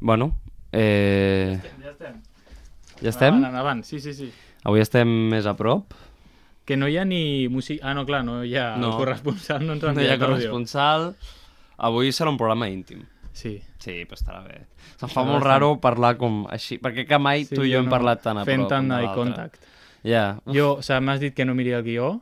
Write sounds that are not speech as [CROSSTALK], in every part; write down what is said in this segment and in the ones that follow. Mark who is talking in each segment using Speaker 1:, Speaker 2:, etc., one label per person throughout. Speaker 1: Bueno, eh,
Speaker 2: Ja estem.
Speaker 1: ja estem?
Speaker 2: Endavant, endavant. Sí, sí, sí.
Speaker 1: Avui estem més a prop.
Speaker 2: Que no hi ha ni música... Ah, no, clar, no hi ha
Speaker 1: No.
Speaker 2: no. corresponsal, no ens han
Speaker 1: No hi ha
Speaker 2: enviat àudio.
Speaker 1: corresponsal. Avui serà un programa íntim.
Speaker 2: Sí.
Speaker 1: Sí, però estarà bé. Se'm fa
Speaker 2: Serà
Speaker 1: molt
Speaker 2: bastant.
Speaker 1: raro parlar com així, perquè que mai
Speaker 2: sí
Speaker 1: tu i jo hem
Speaker 2: no.
Speaker 1: parlat tan a
Speaker 2: Fent
Speaker 1: prop.
Speaker 2: tant
Speaker 1: un de
Speaker 2: eye
Speaker 1: l'altre.
Speaker 2: contact.
Speaker 1: Ja.
Speaker 2: Jo, o sigui, m'has dit que no miri el guió.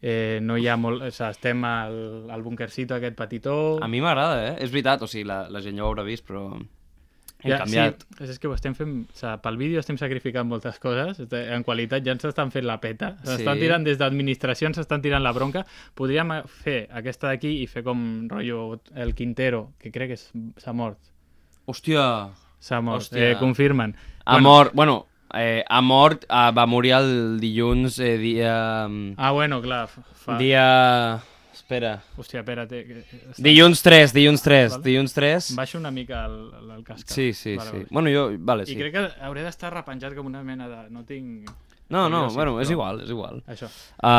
Speaker 2: Eh, no hi ha molt... O sigui, estem al, al bunkercito aquest petitó.
Speaker 1: A mi m'agrada, eh? És veritat, o sigui, la, la gent ja ho haurà vist, però hem
Speaker 2: Ja,
Speaker 1: canviat.
Speaker 2: Sí, és que ho estem fent... O sigui, pel vídeo estem sacrificant moltes coses. este- En qualitat ja ens estan fent la peta. S'estan
Speaker 1: Sí.
Speaker 2: tirant des d'administració, ens estan tirant la bronca. Podríem eh, fer aquesta d'aquí i fer com rotllo el Quintero, que crec que és- s'ha mort.
Speaker 1: Hòstia,
Speaker 2: S'ha mort.
Speaker 1: Hòstia.
Speaker 2: Eh, confirmen.
Speaker 1: ha mort... Bueno, eh, ha mort, eh, va morir el dilluns eh, dia...
Speaker 2: Ah, bueno, clar. f- Fa... Dia...
Speaker 1: Dia... Espera.
Speaker 2: Hòstia, espera't. Eh, que- està-
Speaker 1: Dilluns 3, dilluns 3,
Speaker 2: Vale.
Speaker 1: dilluns 3.
Speaker 2: Baixo una mica el, el casc.
Speaker 1: Sí, sí,
Speaker 2: Vale,
Speaker 1: sí.
Speaker 2: vale.
Speaker 1: Bueno, jo... Vale,
Speaker 2: I
Speaker 1: sí.
Speaker 2: crec que hauré d'estar repenjat com una mena de... No tinc...
Speaker 1: No,
Speaker 2: Jo
Speaker 1: no,
Speaker 2: sí,
Speaker 1: bueno, és
Speaker 2: però-
Speaker 1: igual, és igual.
Speaker 2: Això.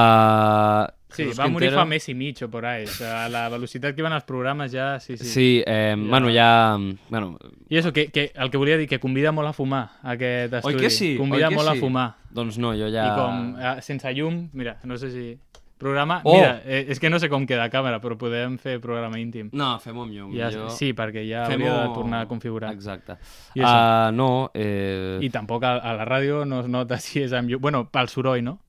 Speaker 1: Uh,
Speaker 2: Sí, va morir fa mes i mig o por ahí. O sigui, a la velocitat que van els programes ja... Sí, sí.
Speaker 1: Sí, eh, bueno, ja... Bueno,
Speaker 2: I això, que, que el que volia dir, que convida molt a fumar, aquest
Speaker 1: oi
Speaker 2: estudi.
Speaker 1: que sí?
Speaker 2: Convida
Speaker 1: oi que
Speaker 2: molt
Speaker 1: sí?
Speaker 2: a fumar.
Speaker 1: Doncs no, jo
Speaker 2: Ja.
Speaker 1: ja...
Speaker 2: I com, eh, sense llum, mira, no sé si... Programa...
Speaker 1: Oh!
Speaker 2: Mira, eh, és que no sé com queda a càmera, però podem fer programa íntim.
Speaker 1: No, fem-ho amb llum.
Speaker 2: Ja,
Speaker 1: jo...
Speaker 2: Sí, perquè ja
Speaker 1: Fem-ho-
Speaker 2: hauria de tornar a configurar.
Speaker 1: Exacte.
Speaker 2: I
Speaker 1: Uh, no, eh...
Speaker 2: I tampoc a, a la ràdio no es nota [LAUGHS] si és amb llum. Bueno, pel soroll, no?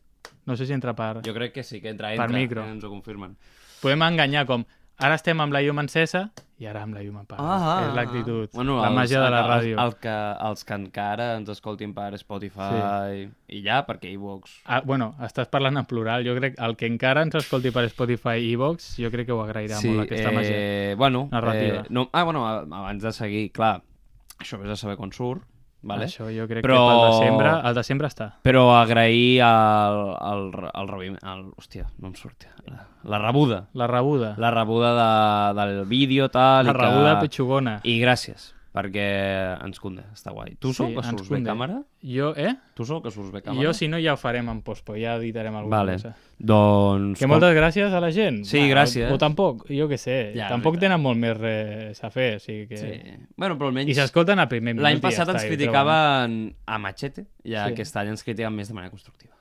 Speaker 2: No sé si entra per...
Speaker 1: Jo crec que sí, que entra, entra.
Speaker 2: micro.
Speaker 1: eh, Ens ho confirmen.
Speaker 2: Podem enganyar com... Ara estem amb la llum encesa i ara amb la llum apagada. Ah, és l'actitud, la
Speaker 1: Ah, els-
Speaker 2: màgia de la
Speaker 1: els-
Speaker 2: ràdio.
Speaker 1: El que, els que encara ens escoltin per Spotify i, i ja, perquè iVox...
Speaker 2: Ah, bueno, estàs parlant en plural. Jo crec el que encara ens escolti per Spotify i Vox, jo crec que ho agrairà molt aquesta
Speaker 1: eh,
Speaker 2: màgia.
Speaker 1: Bueno,
Speaker 2: narrativa.
Speaker 1: Eh, no, ah, bueno, a- abans de seguir, clar, això vés a saber quan surt, vale?
Speaker 2: Això jo crec
Speaker 1: Però-
Speaker 2: que pel desembre, el desembre està.
Speaker 1: Però agrair el, el, el, el, el... Hòstia, no em surt. La, la rebuda.
Speaker 2: La rebuda. La,
Speaker 1: La rebuda de, del vídeo, tal... i que-
Speaker 2: rebuda petxugona.
Speaker 1: I gràcies, perquè ens conde, està guai. Tu sou que
Speaker 2: ens
Speaker 1: surts bé
Speaker 2: conde.
Speaker 1: càmera?
Speaker 2: Jo, eh?
Speaker 1: Tu sou que surts bé càmera?
Speaker 2: Jo, si no, ja ho farem en pospo, ja editarem
Speaker 1: Ah,
Speaker 2: alguna
Speaker 1: Vale,
Speaker 2: cosa.
Speaker 1: doncs...
Speaker 2: Que moltes gràcies a la gent.
Speaker 1: Sí,
Speaker 2: Va,
Speaker 1: gràcies.
Speaker 2: O, o tampoc, jo que sé.
Speaker 1: Ja,
Speaker 2: Ja,
Speaker 1: és
Speaker 2: tampoc
Speaker 1: veritat.
Speaker 2: tenen molt més res a fer, o sigui que...
Speaker 1: Sí. Bueno, però
Speaker 2: I
Speaker 1: almenys
Speaker 2: s'escolten a primer minut.
Speaker 1: l'any
Speaker 2: i ja
Speaker 1: passat
Speaker 2: està,
Speaker 1: ens
Speaker 2: i ho
Speaker 1: criticaven a machete i
Speaker 2: Sí.
Speaker 1: aquest any ens critiquen més de manera constructiva.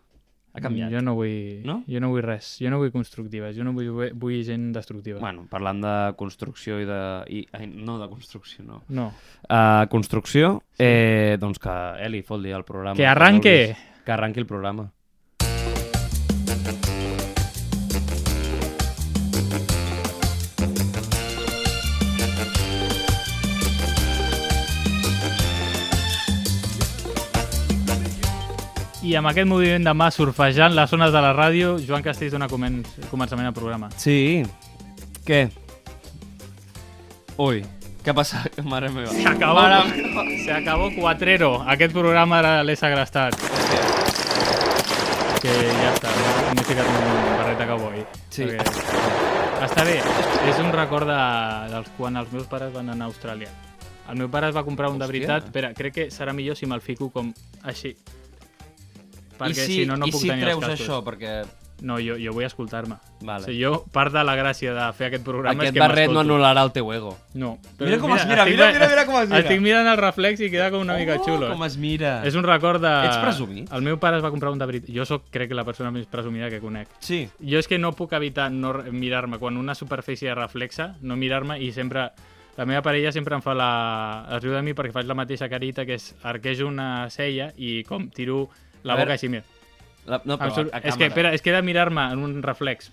Speaker 1: Ha
Speaker 2: troben.
Speaker 1: canviat.
Speaker 2: Jo no vull...
Speaker 1: No?
Speaker 2: Jo no vull res. Jo no vull constructives. Jo no vull, vull gent destructiva.
Speaker 1: Bueno, parlant de construcció i de... I, ai, no, de construcció, no.
Speaker 2: No.
Speaker 1: Uh, construcció, eh, doncs que Eli fot-li el programa.
Speaker 2: Que arranque!
Speaker 1: vulguis. Que arranqui el programa.
Speaker 2: I amb aquest moviment de mà surfejant les zones de la ràdio, Joan Castells dona comen començament al programa.
Speaker 1: Sí. Què? Ui, què ha passat? [LAUGHS] Mare meva.
Speaker 2: S'acabó, se acabó Quatrero. Aquest programa ara l'he segrestat. Que ja està, no- m'he ficat un barret de cowboy.
Speaker 1: Sí.
Speaker 2: Perquè- Està bé, és un record de, dels quan els meus pares van anar a Austràlia. El meu pare es va comprar un de
Speaker 1: Hòstia.
Speaker 2: veritat. Espera, crec que serà millor si me'l fico com així. Perquè
Speaker 1: I si,
Speaker 2: si no, no
Speaker 1: i
Speaker 2: puc
Speaker 1: si
Speaker 2: tenir els
Speaker 1: treus
Speaker 2: cascos.
Speaker 1: això, perquè...
Speaker 2: No, jo, jo vull escoltar-me.
Speaker 1: Vale.
Speaker 2: O sigui, jo, part de la gràcia de fer aquest programa és
Speaker 1: Aquest
Speaker 2: que
Speaker 1: barret no
Speaker 2: m'escolto.
Speaker 1: anul·larà el teu ego.
Speaker 2: No. Doncs
Speaker 1: Mira com es mira,
Speaker 2: estic
Speaker 1: mira,
Speaker 2: ve-
Speaker 1: mira, mira com es mira.
Speaker 2: Estic mirant el reflex i queda com una mica xulo.
Speaker 1: Oh,
Speaker 2: eh?
Speaker 1: Com es mira.
Speaker 2: És un record de...
Speaker 1: Ets presumit?
Speaker 2: El meu pare es va comprar un de veritat. Jo sóc, crec, que la persona més presumida que conec.
Speaker 1: Sí.
Speaker 2: Jo és que no puc evitar no re- mirar-me. Quan una superfície reflexa, no mirar-me i sempre... La meva parella sempre em fa la... Es riu de mi perquè faig la mateixa carita, que és arquejo una cella i com tiro la
Speaker 1: A
Speaker 2: boca
Speaker 1: veure,
Speaker 2: així, mira.
Speaker 1: La, no,
Speaker 2: Em
Speaker 1: però
Speaker 2: surt...
Speaker 1: a, a
Speaker 2: És que, espera, és que he de mirar-me en un reflex.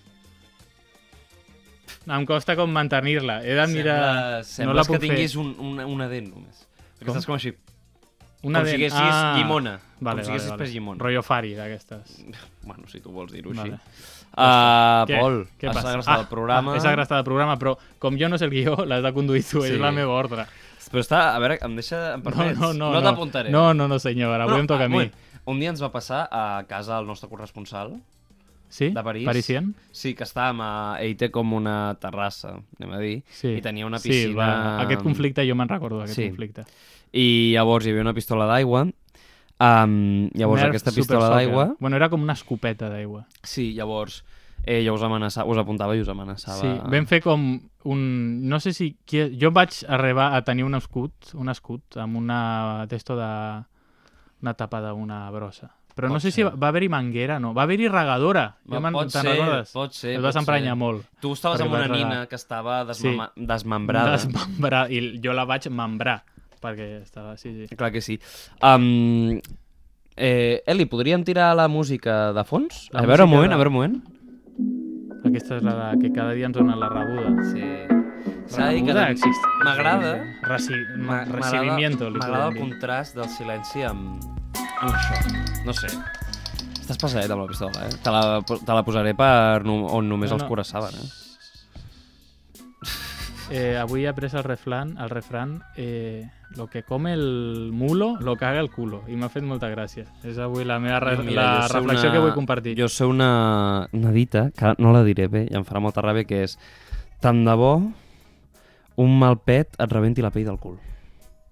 Speaker 2: Em costa com mantenir-la. He de mirar...
Speaker 1: Sembla,
Speaker 2: Ah, no
Speaker 1: sembles
Speaker 2: la
Speaker 1: no que
Speaker 2: puc
Speaker 1: tinguis
Speaker 2: fer.
Speaker 1: un, una, una dent només. Perquè estàs com així.
Speaker 2: Una
Speaker 1: com si
Speaker 2: dent.
Speaker 1: haguessis llimona. Com
Speaker 2: Ah. Vale,
Speaker 1: si
Speaker 2: vale,
Speaker 1: haguessis
Speaker 2: vale.
Speaker 1: pres llimona.
Speaker 2: Rollo Fari, d'aquestes.
Speaker 1: Bueno, si tu vols dir-ho
Speaker 2: Vale. Ah,
Speaker 1: així. Uh,
Speaker 2: Què?
Speaker 1: Pol,
Speaker 2: Què
Speaker 1: has
Speaker 2: passa?
Speaker 1: agrestat el
Speaker 2: [LAUGHS]
Speaker 1: programa.
Speaker 2: Ah, he segrestat el programa, però com jo no sé el guió, [LAUGHS] l'has de conduir tu, sí.
Speaker 1: Sí.
Speaker 2: és la meva ordre.
Speaker 1: Però està, a veure, em deixa... Em
Speaker 2: No,
Speaker 1: permets?
Speaker 2: no, no.
Speaker 1: no t'apuntaré.
Speaker 2: No, no, no, senyor, avui
Speaker 1: Bueno,
Speaker 2: em toca
Speaker 1: ah,
Speaker 2: a
Speaker 1: un
Speaker 2: mi.
Speaker 1: moment. Un dia ens va passar a casa el nostre corresponsal
Speaker 2: Sí?
Speaker 1: de París.
Speaker 2: Parisien?
Speaker 1: Sí, que estàvem a EIT com una terrassa, anem a dir,
Speaker 2: Sí.
Speaker 1: i tenia una
Speaker 2: Sí,
Speaker 1: piscina...
Speaker 2: va. Aquest conflicte jo me'n recordo, aquest
Speaker 1: Sí.
Speaker 2: conflicte.
Speaker 1: I llavors hi havia una pistola d'aigua, um, llavors
Speaker 2: Nerf
Speaker 1: aquesta
Speaker 2: Super
Speaker 1: pistola
Speaker 2: Soccer.
Speaker 1: d'aigua...
Speaker 2: Bueno, era com una escopeta d'aigua.
Speaker 1: Sí, llavors Eh, jo us, amenaça, us apuntava i us amenaçava.
Speaker 2: Sí, vam fer com un... No sé si... Qui... Jo vaig arribar a tenir un escut, un escut amb una testo de... una tapa d'una brossa. Però
Speaker 3: Pot
Speaker 2: no sé si
Speaker 3: ser.
Speaker 2: va, va haver-hi manguera, no. Va haver-hi regadora.
Speaker 3: Va,
Speaker 2: jo me'n
Speaker 3: pot
Speaker 2: te'n
Speaker 3: ser,
Speaker 2: recordes?
Speaker 3: pot ser,
Speaker 2: Et
Speaker 3: pot
Speaker 2: vas
Speaker 3: ser.
Speaker 2: emprenyar molt.
Speaker 1: Tu estaves amb
Speaker 2: Arribar
Speaker 1: una
Speaker 2: a regar.
Speaker 1: nina que estava desmama... desmembrada.
Speaker 2: Desmembrar. I jo la vaig membrar, perquè estava... Sí, sí.
Speaker 1: Clar que sí. Um, eh, Eli, podríem tirar la música de fons?
Speaker 2: La
Speaker 1: a veure un
Speaker 2: música
Speaker 1: moment,
Speaker 2: de-
Speaker 1: a veure un moment.
Speaker 2: Aquesta és la de- que cada dia ens dona la rebuda.
Speaker 3: Sí.
Speaker 1: S'ha de dir que
Speaker 2: Rebuda
Speaker 1: doncs,
Speaker 2: existe.
Speaker 3: M'agrada.
Speaker 2: Reci...
Speaker 3: M'a- m'agrada-
Speaker 2: Recibimiento, li
Speaker 3: M'agrada
Speaker 2: podem
Speaker 3: el
Speaker 2: dir.
Speaker 3: contrast del silenci amb, amb això.
Speaker 1: No sé. Estàs passadet amb la pistola, eh? Te la, te la posaré per no, on només
Speaker 2: No,
Speaker 1: no, no.
Speaker 2: no.
Speaker 1: els curaçaven, eh?
Speaker 2: [LAUGHS] Eh, avui he après el refran, el refran eh, lo que come el mulo, lo caga el culo. I m'ha fet molta gràcia. És avui la meva re
Speaker 1: Mira,
Speaker 2: la
Speaker 1: jo sé
Speaker 2: reflexió
Speaker 1: una-
Speaker 2: que vull compartir.
Speaker 1: Jo sé una, una dita, que no la diré bé, i em farà molta ràbia, que és tant de bo un mal pet et rebenti la pell del cul.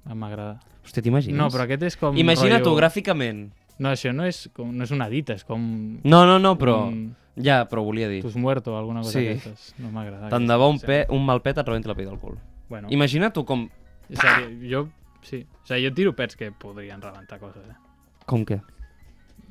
Speaker 2: Ah, M'agrada.
Speaker 1: Hòstia, t'imagines?
Speaker 2: No, però aquest és com...
Speaker 1: Imagina tu,
Speaker 2: rotllo-
Speaker 1: gràficament.
Speaker 2: No, això no és, com, no és una dita, és com...
Speaker 1: No, no, no, però...
Speaker 2: Mm.
Speaker 1: Ja, però ho volia dir.
Speaker 2: Tus muerto o alguna cosa
Speaker 1: Sí.
Speaker 2: d'aquestes. No m'agrada.
Speaker 1: Tant
Speaker 2: aquesta.
Speaker 1: de bo un, pe, un mal pet et rebenti la pell del cul.
Speaker 2: Bueno,
Speaker 1: Imagina tu com...
Speaker 2: és a dir, jo... Sí. O sigui, jo tiro pets que podrien rebentar coses, eh? [LAUGHS]
Speaker 1: Com què?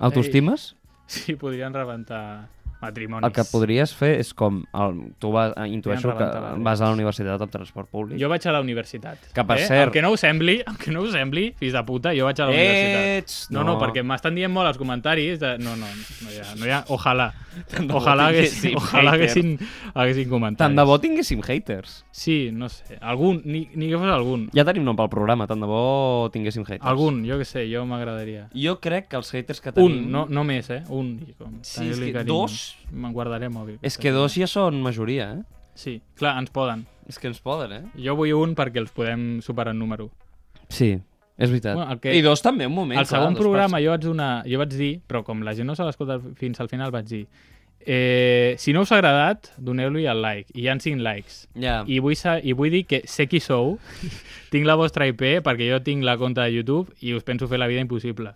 Speaker 1: Autoestimes?
Speaker 2: Sí, podrien rebentar matrimonis.
Speaker 1: El que podries fer és com... El, tu vas, eh, intueixo que
Speaker 2: rebentar barreres.
Speaker 1: vas a la universitat amb transport públic.
Speaker 2: Jo vaig a la universitat.
Speaker 1: Que, per
Speaker 2: eh?
Speaker 1: cert- Eh,
Speaker 2: Aunque no ho sembli, [LAUGHS] aunque no ho sembli, fills de puta, jo vaig a la universitat.
Speaker 1: Ets!
Speaker 2: No, no, perquè m'estan dient molt els comentaris de... No, no, no hi ha, no hi ha... Ojalà.
Speaker 1: [LAUGHS] Tant de bo
Speaker 2: Ojalà
Speaker 1: tinguéssim
Speaker 2: haguessin, [LAUGHS] ojalà
Speaker 1: haters.
Speaker 2: haguessin, haguessin comentaris.
Speaker 1: Tant de bo tinguéssim haters.
Speaker 2: Sí, no sé. Algun, ni, ni que fos algun.
Speaker 1: Ja tenim nom pel programa, tant de bo tinguéssim haters.
Speaker 2: Algun, jo que sé, jo m'agradaria.
Speaker 1: Jo crec que els haters que tenim...
Speaker 2: Un, no, no més, eh? Un. i Com,
Speaker 1: Sí, és
Speaker 2: tenir-li
Speaker 1: que
Speaker 2: carinyo.
Speaker 1: dos-
Speaker 2: Me'n guardaré el mòbil.
Speaker 1: És que dos ja són majoria, eh?
Speaker 2: Sí, clar, ens poden.
Speaker 1: És que ens poden, eh?
Speaker 2: Jo vull un perquè els podem superar en número.
Speaker 1: Sí, és veritat.
Speaker 2: Bueno,
Speaker 1: Bueno,
Speaker 2: el que-
Speaker 1: I dos també, un moment.
Speaker 2: Al
Speaker 1: clar,
Speaker 2: segon
Speaker 1: dos
Speaker 2: programa jo vaig, donar, jo vaig dir, però com la gent no se l'escolta fins al final, vaig dir eh, si no us ha agradat, doneu-li el like. I hi ha 5 likes.
Speaker 1: Per... Ja.
Speaker 2: I vull, sa I vull dir que sé qui
Speaker 1: [LAUGHS]
Speaker 2: sou, tinc la vostra IP perquè jo tinc la compta de YouTube i us penso fer la vida impossible.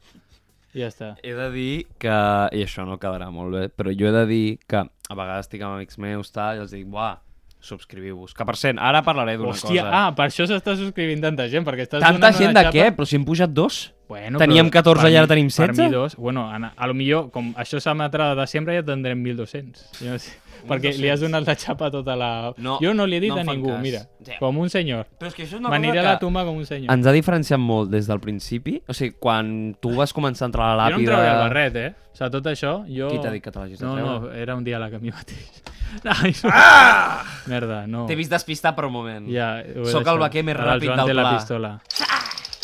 Speaker 2: I ja està.
Speaker 1: He de dir que, i això no quedarà molt bé, però jo he de dir que a vegades estic amb amics meus tal, i els dic, buah, subscriviu-vos. Que per cent, ara parlaré d'una cosa.
Speaker 2: Hòstia, ah, per això s'està subscrivint tanta gent, perquè estàs
Speaker 1: Tanta
Speaker 2: donant
Speaker 1: gent
Speaker 2: una eh?
Speaker 1: de
Speaker 2: xapa...
Speaker 1: què? Però si hem pujat dos?
Speaker 2: Bueno,
Speaker 1: Teníem
Speaker 2: però
Speaker 1: 14
Speaker 2: per
Speaker 1: i ara
Speaker 2: mi-
Speaker 1: tenim
Speaker 2: Per
Speaker 1: 16?
Speaker 2: mi dos, bueno, Anna, a lo millor, com això s'emetrà de sempre, ja tindrem 1.200. Jo no sé, perquè li has donat la xapa a tota la...
Speaker 1: No,
Speaker 2: jo no li he dit
Speaker 1: no
Speaker 2: a
Speaker 1: em fan
Speaker 2: ningú,
Speaker 1: cas.
Speaker 2: mira,
Speaker 1: Ja.
Speaker 2: com un senyor.
Speaker 1: Però és que això és
Speaker 2: M'aniré a la tumba com un senyor.
Speaker 1: Ens ha diferenciat molt des del principi. O sigui, quan tu vas començar a entrar a la
Speaker 2: Jo no em
Speaker 1: làpida...
Speaker 2: trauré el barret, eh? O sigui, tot això, jo...
Speaker 1: Qui t'ha dit que te l'hagis de
Speaker 2: No,
Speaker 1: treure?
Speaker 2: no, era un diàleg a
Speaker 1: [LAUGHS]
Speaker 2: mi mateix. Ai, ah! Merda, no.
Speaker 1: T'he vist despistar per un moment.
Speaker 2: Oh. Ja, ho he
Speaker 1: Sóc el
Speaker 2: deixat.
Speaker 1: vaquer més
Speaker 2: Ara el
Speaker 1: ràpid
Speaker 2: Joan
Speaker 1: del
Speaker 2: té la
Speaker 1: pla.
Speaker 2: pistola.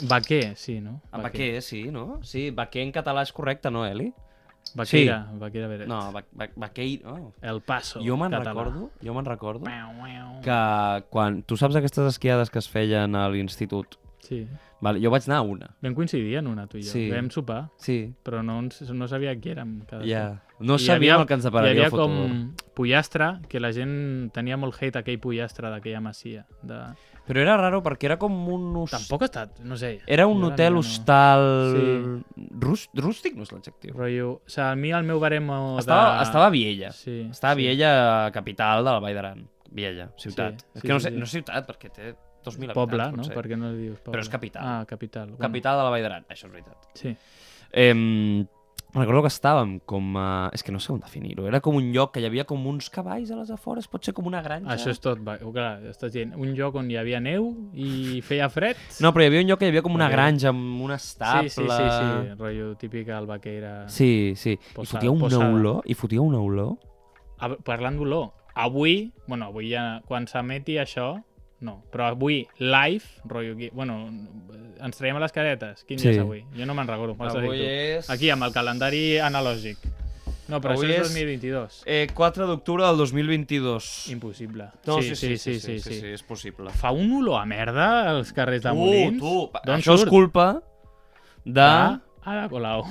Speaker 2: Vaquer, sí, no?
Speaker 1: Ah, vaquer, sí, no? Sí, vaquer en català és correcte, no, Eli?
Speaker 2: Vaquera, vaquera Beret.
Speaker 1: No, va, va, vaquer... Oh.
Speaker 2: El Paso.
Speaker 1: Jo me'n
Speaker 2: català.
Speaker 1: recordo, jo me'n recordo
Speaker 2: Miau, miau.
Speaker 1: que quan... Tu saps aquestes esquiades que es feien a l'institut?
Speaker 2: Sí.
Speaker 1: Vale, jo vaig anar a una.
Speaker 2: Vam coincidir en una, tu i jo.
Speaker 1: Sí.
Speaker 2: Vam sopar,
Speaker 1: Sí,
Speaker 2: però no, ens, no sabia qui érem. Cada
Speaker 1: ja.
Speaker 2: un.
Speaker 1: No
Speaker 2: I hi
Speaker 1: sabíem
Speaker 2: havia-
Speaker 1: el que ens
Speaker 2: Hi
Speaker 1: depararia
Speaker 2: havia
Speaker 1: el futur.
Speaker 2: com pollastre, que la gent tenia molt hate aquell pollastre d'aquella masia. De...
Speaker 1: Però era raro perquè era com un... Us...
Speaker 2: Tampoc ha estat, no sé.
Speaker 1: Era un
Speaker 2: Jo la
Speaker 1: hotel
Speaker 2: neta no.
Speaker 1: hostal...
Speaker 2: Sí.
Speaker 1: Rús... Rústic no és l'adjectiu.
Speaker 2: Rotllo... O sigui, a mi el meu baremo
Speaker 1: Estava,
Speaker 2: de...
Speaker 1: estava a Viella.
Speaker 2: Sí,
Speaker 1: Estava a
Speaker 2: sí.
Speaker 1: Viella, capital de la Vall d'Aran. Viella, ciutat.
Speaker 2: Sí,
Speaker 1: és
Speaker 2: sí,
Speaker 1: que no,
Speaker 2: sí,
Speaker 1: sé,
Speaker 2: sí.
Speaker 1: no és ciutat, perquè té 2.000
Speaker 2: Poble,
Speaker 1: habitants,
Speaker 2: no?
Speaker 1: potser.
Speaker 2: Perquè no li dius poble.
Speaker 1: Però és capital.
Speaker 2: Ah, capital. Bueno,
Speaker 1: Capital de la Vall d'Aran, això és veritat.
Speaker 2: Sí.
Speaker 1: Eh, recordo que estàvem com a... És que no sé on definir-ho. Era com un lloc que hi havia com uns cavalls a les afores, pot ser com una granja.
Speaker 2: Això és tot. Va... Clar, estàs dient un lloc on hi havia neu i feia fred.
Speaker 1: No, però hi havia un lloc que hi havia com una
Speaker 2: Ok.
Speaker 1: granja amb un estable.
Speaker 2: Sí, sí, sí, sí. Rotllo típica albaqueira.
Speaker 1: Sí, sí. I
Speaker 2: Posada-
Speaker 1: fotia una
Speaker 2: posada.
Speaker 1: olor, i fotia una olor.
Speaker 2: A, parlant d'olor, avui, bueno, avui ja, quan s'emeti això, no, però avui, live, rotllo, aquí, bueno, ens traiem les caretes. Quin sí.
Speaker 1: Sí.
Speaker 2: dia és avui? Jo no me'n recordo, m'ho has de dir
Speaker 1: Avui
Speaker 2: tu.
Speaker 1: és-
Speaker 2: Aquí, amb el calendari analògic. No, però
Speaker 1: Avui
Speaker 2: avui
Speaker 1: és-
Speaker 2: això és 2022.
Speaker 1: Eh, 4 d'octubre del 2022.
Speaker 2: Impossible.
Speaker 1: No,
Speaker 2: sí, sí, sí, sí, sí, sí,
Speaker 1: és possible.
Speaker 2: Fa un olor a merda als carrers de Molins? D'on
Speaker 1: Això és
Speaker 2: surt?
Speaker 1: culpa de...
Speaker 2: Ah, Ada Colau.
Speaker 1: [LAUGHS]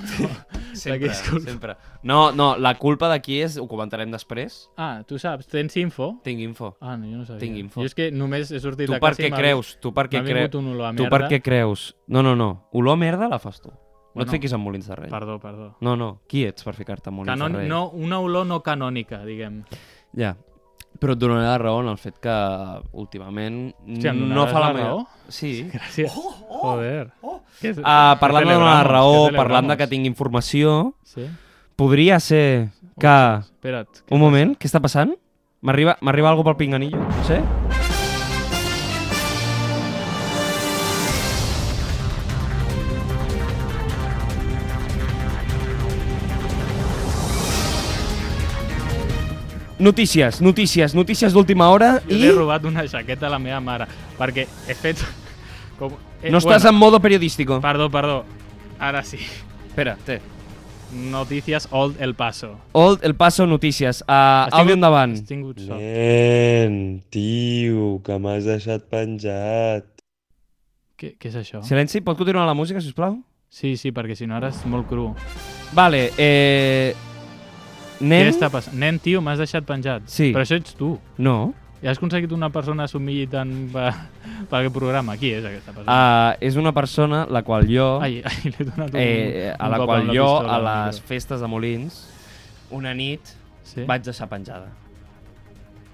Speaker 1: Sempre,
Speaker 2: d'aquí és culpa.
Speaker 1: sempre. No, no, la culpa d'aquí és... Ho comentarem després.
Speaker 2: Ah, tu saps, tens info?
Speaker 1: Tinc info.
Speaker 2: Ah, no, jo no sabia.
Speaker 1: Tinc info.
Speaker 2: Jo és que només he sortit
Speaker 1: Tu
Speaker 2: de
Speaker 1: per
Speaker 2: casa i
Speaker 1: què
Speaker 2: m'ha-
Speaker 1: creus? Tu per què
Speaker 2: m'ha
Speaker 1: creus?
Speaker 2: vingut un olor a
Speaker 1: Tu
Speaker 2: merda.
Speaker 1: per què creus? No, no, no. Olor a merda la fas tu. No et fiquis en molins de rei.
Speaker 2: Perdó, perdó.
Speaker 1: No, no, qui ets per ficar-te en molins
Speaker 2: Canon...
Speaker 1: de rei?
Speaker 2: No, una olor no canònica, diguem.
Speaker 1: Ja. Però et donaré la raó en el fet que últimament
Speaker 2: Hòstia, em
Speaker 1: no
Speaker 2: donaràs
Speaker 1: fa la,
Speaker 2: la
Speaker 1: meva...
Speaker 2: raó?
Speaker 1: Sí.
Speaker 2: Gràcies. Oh, oh, Joder. Oh. Que,
Speaker 1: Ah, parlant de donar la raó,
Speaker 2: que
Speaker 1: parlant de que
Speaker 2: celebramos.
Speaker 1: tinc informació,
Speaker 2: Sí?
Speaker 1: podria ser que...
Speaker 2: Espera't.
Speaker 1: Un moment, què està passant? M'arriba m'arriba algo pel pinganillo, no sé? Notícies, notícies, notícies d'última hora
Speaker 2: Jo
Speaker 1: i
Speaker 2: li he robat una jaqueta a la meva mare, perquè he fet... [LAUGHS] Com... Eh,
Speaker 1: no estàs en modo periodístico.
Speaker 2: Perdó, perdó. Ara sí.
Speaker 1: Espera, té.
Speaker 2: Notícies Old El Paso.
Speaker 1: Old El Paso Notícies. Uh,
Speaker 2: Has
Speaker 1: àudio
Speaker 2: tingut-
Speaker 1: endavant.
Speaker 2: Has tingut sort.
Speaker 4: Nen, tio, que m'has deixat penjat.
Speaker 2: Què, què és això?
Speaker 1: Silenci, pot continuar la música, si us plau?
Speaker 2: Sí, sí, perquè si no ara és molt cru.
Speaker 1: Vale, eh...
Speaker 2: Què
Speaker 1: Nen?
Speaker 2: està passant? Nen, tio, m'has deixat penjat.
Speaker 1: Sí.
Speaker 2: Però això ets tu.
Speaker 1: No.
Speaker 2: I has aconseguit una persona s'humilli tant per, [LAUGHS] per aquest programa. Qui és aquesta persona?
Speaker 1: Uh, és una persona la qual jo...
Speaker 2: Ai, ai, li he donat un,
Speaker 1: eh,
Speaker 2: un
Speaker 1: a la
Speaker 2: cop amb
Speaker 1: qual jo,
Speaker 2: pistola
Speaker 1: a
Speaker 2: al
Speaker 1: les
Speaker 2: micro.
Speaker 1: festes de Molins, una nit
Speaker 2: Sí?
Speaker 1: vaig deixar penjada.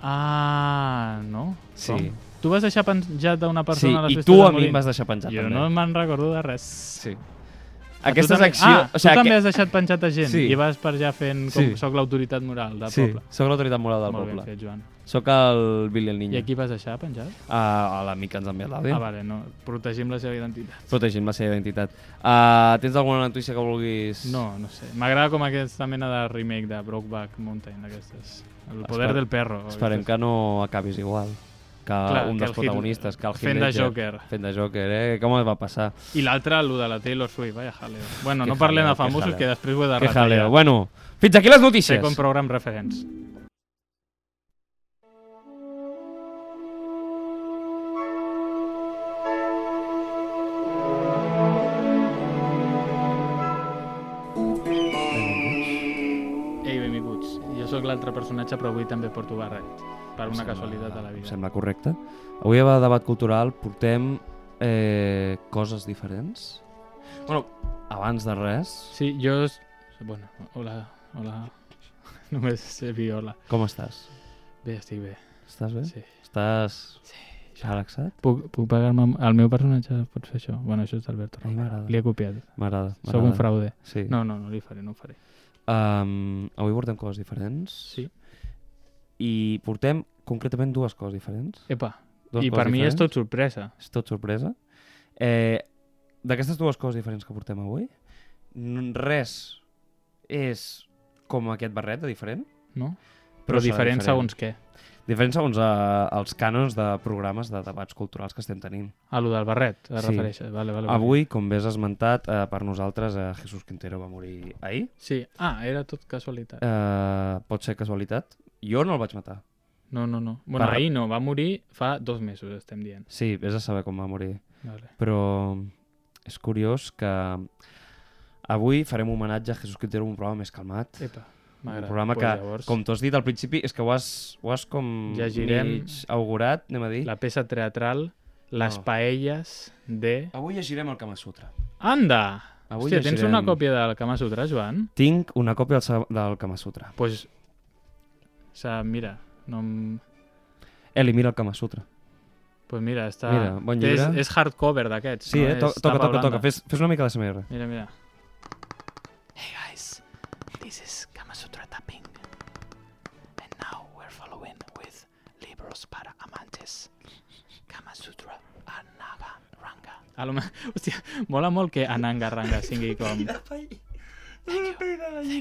Speaker 2: Ah, no?
Speaker 1: Sí.
Speaker 2: Com? Tu vas deixar penjat a una persona a les
Speaker 1: sí, i
Speaker 2: festes
Speaker 1: tu
Speaker 2: de
Speaker 1: a mi
Speaker 2: Molins?
Speaker 1: em vas deixar penjada.
Speaker 2: Jo
Speaker 1: també.
Speaker 2: no me'n recordo de res.
Speaker 1: Sí.
Speaker 2: A tu
Speaker 1: Aquestes
Speaker 2: també-
Speaker 1: accions...
Speaker 2: Ah, o sigui, tu també has deixat penjat a gent
Speaker 1: Sí.
Speaker 2: i vas per allà fent com
Speaker 1: Sí.
Speaker 2: soc l'autoritat moral del
Speaker 1: Sí,
Speaker 2: poble.
Speaker 1: sóc l'autoritat moral del
Speaker 2: Molt ben
Speaker 1: poble.
Speaker 2: fet, Joan.
Speaker 1: Sóc el Billy el Niño.
Speaker 2: I aquí vas deixar penjat?
Speaker 1: Ah, a l'amic que ens ha enviat l'àudio.
Speaker 2: Ah, vale, no. Protegim la seva identitat.
Speaker 1: Protegint la seva identitat. Uh, tens alguna notícia que vulguis...
Speaker 2: No, no sé. M'agrada com aquesta mena de remake de Brokeback Mountain, d'aquestes. El poder
Speaker 1: Espera-
Speaker 2: del perro.
Speaker 1: Esperem que no acabis igual que
Speaker 2: Clar,
Speaker 1: Clar, un dels
Speaker 2: que el Heath-
Speaker 1: protagonistes, que el Heath
Speaker 2: fent de
Speaker 1: Ledger.
Speaker 2: Joker.
Speaker 1: Fent de Joker, eh? Com es va passar?
Speaker 2: I l'altre, el de la Taylor Swift, vaya jaleo. Bueno,
Speaker 1: Que
Speaker 2: no parlem
Speaker 1: jaleo,
Speaker 2: de famosos,
Speaker 1: que
Speaker 2: que, després ho he de
Speaker 1: Que
Speaker 2: retallar.
Speaker 1: jaleo. Bueno, fins aquí les notícies.
Speaker 2: Second program referents. Ei, benvinguts. Jo sóc l'altre personatge, però avui també porto barret. Per una casualitat de la
Speaker 1: Em
Speaker 2: vida.
Speaker 1: sembla correcte. Avui a Debat Cultural portem eh, coses diferents. Bueno, abans de res,
Speaker 2: Sí, jo... s- Bueno, hola, hola. [LAUGHS] Només sé dir hola.
Speaker 1: com estàs?
Speaker 2: Bé, estic bé.
Speaker 1: Estàs bé?
Speaker 2: Sí.
Speaker 1: Estàs relaxat?
Speaker 2: Puc, puc pagar-me... amb- El meu personatge pot fer això? Bueno, això és d'Alberto.
Speaker 1: A mi m'agrada.
Speaker 2: Li he copiat.
Speaker 1: M'agrada.
Speaker 2: Sóc un
Speaker 1: m'agrada.
Speaker 2: fraude.
Speaker 1: Sí.
Speaker 2: No, no, no li faré, no ho faré.
Speaker 1: Um, avui portem coses diferents.
Speaker 2: Sí.
Speaker 1: I portem concretament dues coses diferents.
Speaker 2: Epa,
Speaker 1: Dues
Speaker 2: i
Speaker 1: coses
Speaker 2: per mi és
Speaker 1: diferents.
Speaker 2: tot sorpresa.
Speaker 1: És tot sorpresa. Eh, D'aquestes dues coses diferents que portem avui, n- res és com aquest barret de diferent.
Speaker 2: no?
Speaker 1: Però
Speaker 2: Però,
Speaker 1: serà
Speaker 2: diferent,
Speaker 1: diferent.
Speaker 2: segons què.
Speaker 1: Diferent segons eh, els cànons de programes de debats culturals que estem tenint.
Speaker 2: A lo del barret, es
Speaker 1: Sí.
Speaker 2: sí. refereixes. Vale, vale, vale.
Speaker 1: Avui, com bé has esmentat, eh, per nosaltres eh, Jesús Quintero va morir ahir.
Speaker 2: Sí. Ah, era tot casualitat.
Speaker 1: Eh, pot ser casualitat. Jo no el vaig matar.
Speaker 2: No, no, no. Bueno,
Speaker 1: Barra-
Speaker 2: ahir no, va morir fa dos mesos, estem dient.
Speaker 1: Sí, vés a saber com va morir.
Speaker 2: Vale.
Speaker 1: Però és curiós que avui farem homenatge a Jesús Quintero un programa més calmat.
Speaker 2: Epa,
Speaker 1: Un
Speaker 2: m'agrada.
Speaker 1: programa
Speaker 2: Pues
Speaker 1: que,
Speaker 2: llavors,
Speaker 1: com t'ho has dit al principi, és que ho has, ho has com
Speaker 2: Llegirem-
Speaker 1: mig augurat, anem a dir.
Speaker 2: La peça teatral, les
Speaker 1: Oh.
Speaker 2: paelles de...
Speaker 1: Avui llegirem el Kama Sutra.
Speaker 2: Anda!
Speaker 1: Avui
Speaker 2: Hòstia, tens
Speaker 1: llegirem-
Speaker 2: una còpia del Kama Sutra, Joan?
Speaker 1: Tinc una còpia del, sa- del Kama Sutra.
Speaker 2: Pues... O sea, mira, no... em-
Speaker 1: Eli, mira el Kama Sutra.
Speaker 2: Pues mira, està...
Speaker 1: Mira, bon
Speaker 2: És,
Speaker 1: llibre.
Speaker 2: és hardcover d'aquests.
Speaker 1: Sí,
Speaker 2: no?
Speaker 1: eh?
Speaker 2: És
Speaker 1: To toca,
Speaker 2: tapa
Speaker 1: toca, toca.
Speaker 2: blanda.
Speaker 1: Fes, fes una mica de SMR.
Speaker 2: Mira, mira.
Speaker 5: Hey guys, this is Kama Sutra tapping. And now we're following with Libros para Amantes, Kama Sutra Anaga Ranga.
Speaker 2: A lo... me- [LAUGHS] Hòstia, mola molt que Ananga Ranga singui com...
Speaker 5: Thank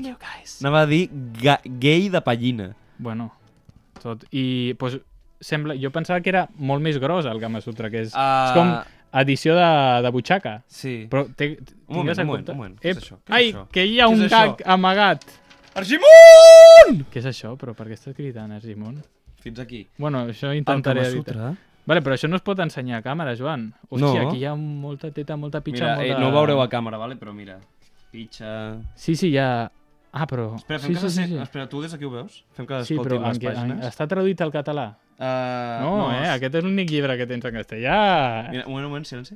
Speaker 5: you guys.
Speaker 1: Anava a dir ga gay de pallina.
Speaker 2: Bueno, tot. I, pues, sembla... Jo pensava que era molt més gros el Kama Sutra, que és,
Speaker 1: Ah.
Speaker 2: és com edició de, de butxaca.
Speaker 1: Sí.
Speaker 2: Però té,
Speaker 1: Un moment,
Speaker 2: tingues en
Speaker 1: un moment,
Speaker 2: compte-
Speaker 1: un moment. Què
Speaker 2: Ep,
Speaker 1: és això? Què és
Speaker 2: Ai,
Speaker 1: això?
Speaker 2: que hi ha
Speaker 1: Què és
Speaker 2: un
Speaker 1: això?
Speaker 2: gag amagat!
Speaker 1: Argimon!
Speaker 2: Què és això? Però per què estàs cridant, Argimon?
Speaker 1: Fins aquí.
Speaker 2: Bueno, això
Speaker 1: El
Speaker 2: intentaré
Speaker 1: Kama
Speaker 2: evitar.
Speaker 1: Sutra...
Speaker 2: Vale, però això no es pot ensenyar a càmera, Joan. Hòstia,
Speaker 1: No.
Speaker 2: aquí hi ha molta teta, molta pitxa,
Speaker 1: Mira,
Speaker 2: molta...
Speaker 1: eh, no ho veureu a càmera, vale? però mira. Pitxa...
Speaker 2: Sí, sí, hi ha... Ah, però...
Speaker 1: Espera, fem
Speaker 2: sí,
Speaker 1: que
Speaker 2: sí, sí, sí.
Speaker 1: Espera, tu des d'aquí ho veus? Fem que
Speaker 2: Sí, però
Speaker 1: escoltin les
Speaker 2: en, què- en,
Speaker 1: pàgines.
Speaker 2: està traduït al català.
Speaker 1: Uh,
Speaker 2: No, no eh? Aquest és l'únic llibre que tens en castellà.
Speaker 1: Mira, un moment, un moment, silenci.